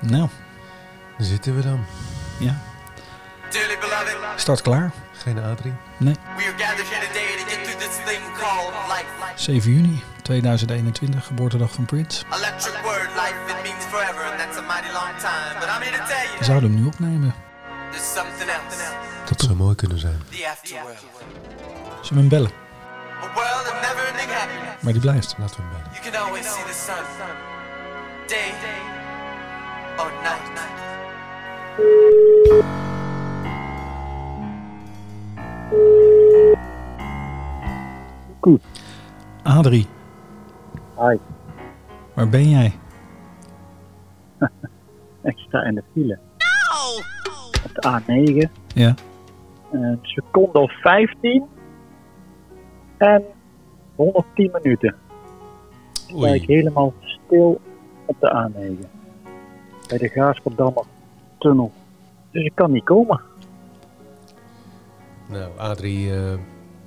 Nou, Daar zitten we dan. ja. Dearly beloved, Start klaar. Geen Adrie. Nee, we are gathered here today to get through this thing called life. 7 juni 2021, geboortedag van Prince. Electric word, life, it means forever, and that's a mighty long time. But I'm here to tell We you, zouden hem nu opnemen. there's something else. Dat zou mooi kunnen zijn. The afterworld. Zullen we hem bellen? A world of never-ending happiness. Maar die blijft. Laten we hem bellen. You can always see the sun. Day or night. Adrie, Hi, waar ben jij? ik sta in de file. Op de A9, Ja. een seconde of 15 en 110 minuten. Sta ik helemaal stil op de A9. Bij de Gaasperdammer tunnel. Dus ik kan niet komen. Nou, Adrie, eh,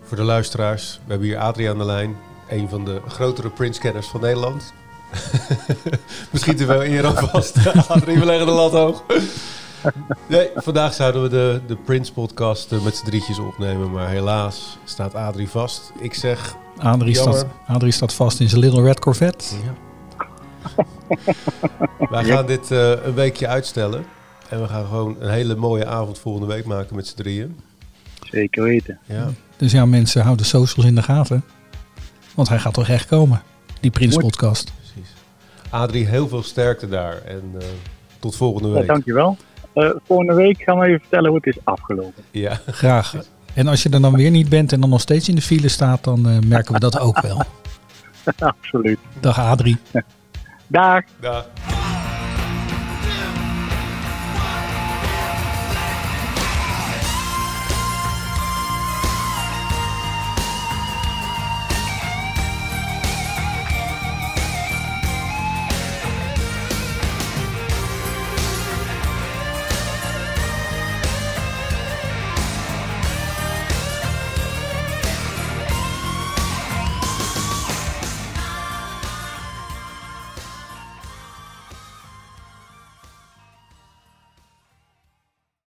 voor de luisteraars. We hebben hier Adrie aan de lijn. Een van de grotere Prince-kenners van Nederland. Misschien te veel eer aan vast. Adrie, we leggen de lat hoog. Nee, vandaag zouden we de, de Prince-podcast eh, met z'n drietjes opnemen. Maar helaas staat Adrie vast. Ik zeg... Adrie Jammer. staat, Adrie staat vast in zijn Little Red Corvette. Wij gaan dit eh, een weekje uitstellen. En we gaan gewoon een hele mooie avond volgende week maken met z'n drieën. Zeker weten. Ja. Dus ja, mensen, houden de socials in de gaten. Want hij gaat toch echt komen, die Prins podcast. Precies. Adrie, heel veel sterkte daar. En eh, tot volgende Ja, week. dankjewel. Eh volgende week gaan we even vertellen hoe het is afgelopen. Ja, Graag. En als je er dan weer niet bent en dan nog steeds in de file staat, dan eh, merken we dat ook wel. Absoluut. Dag Adrie. Dag. dag.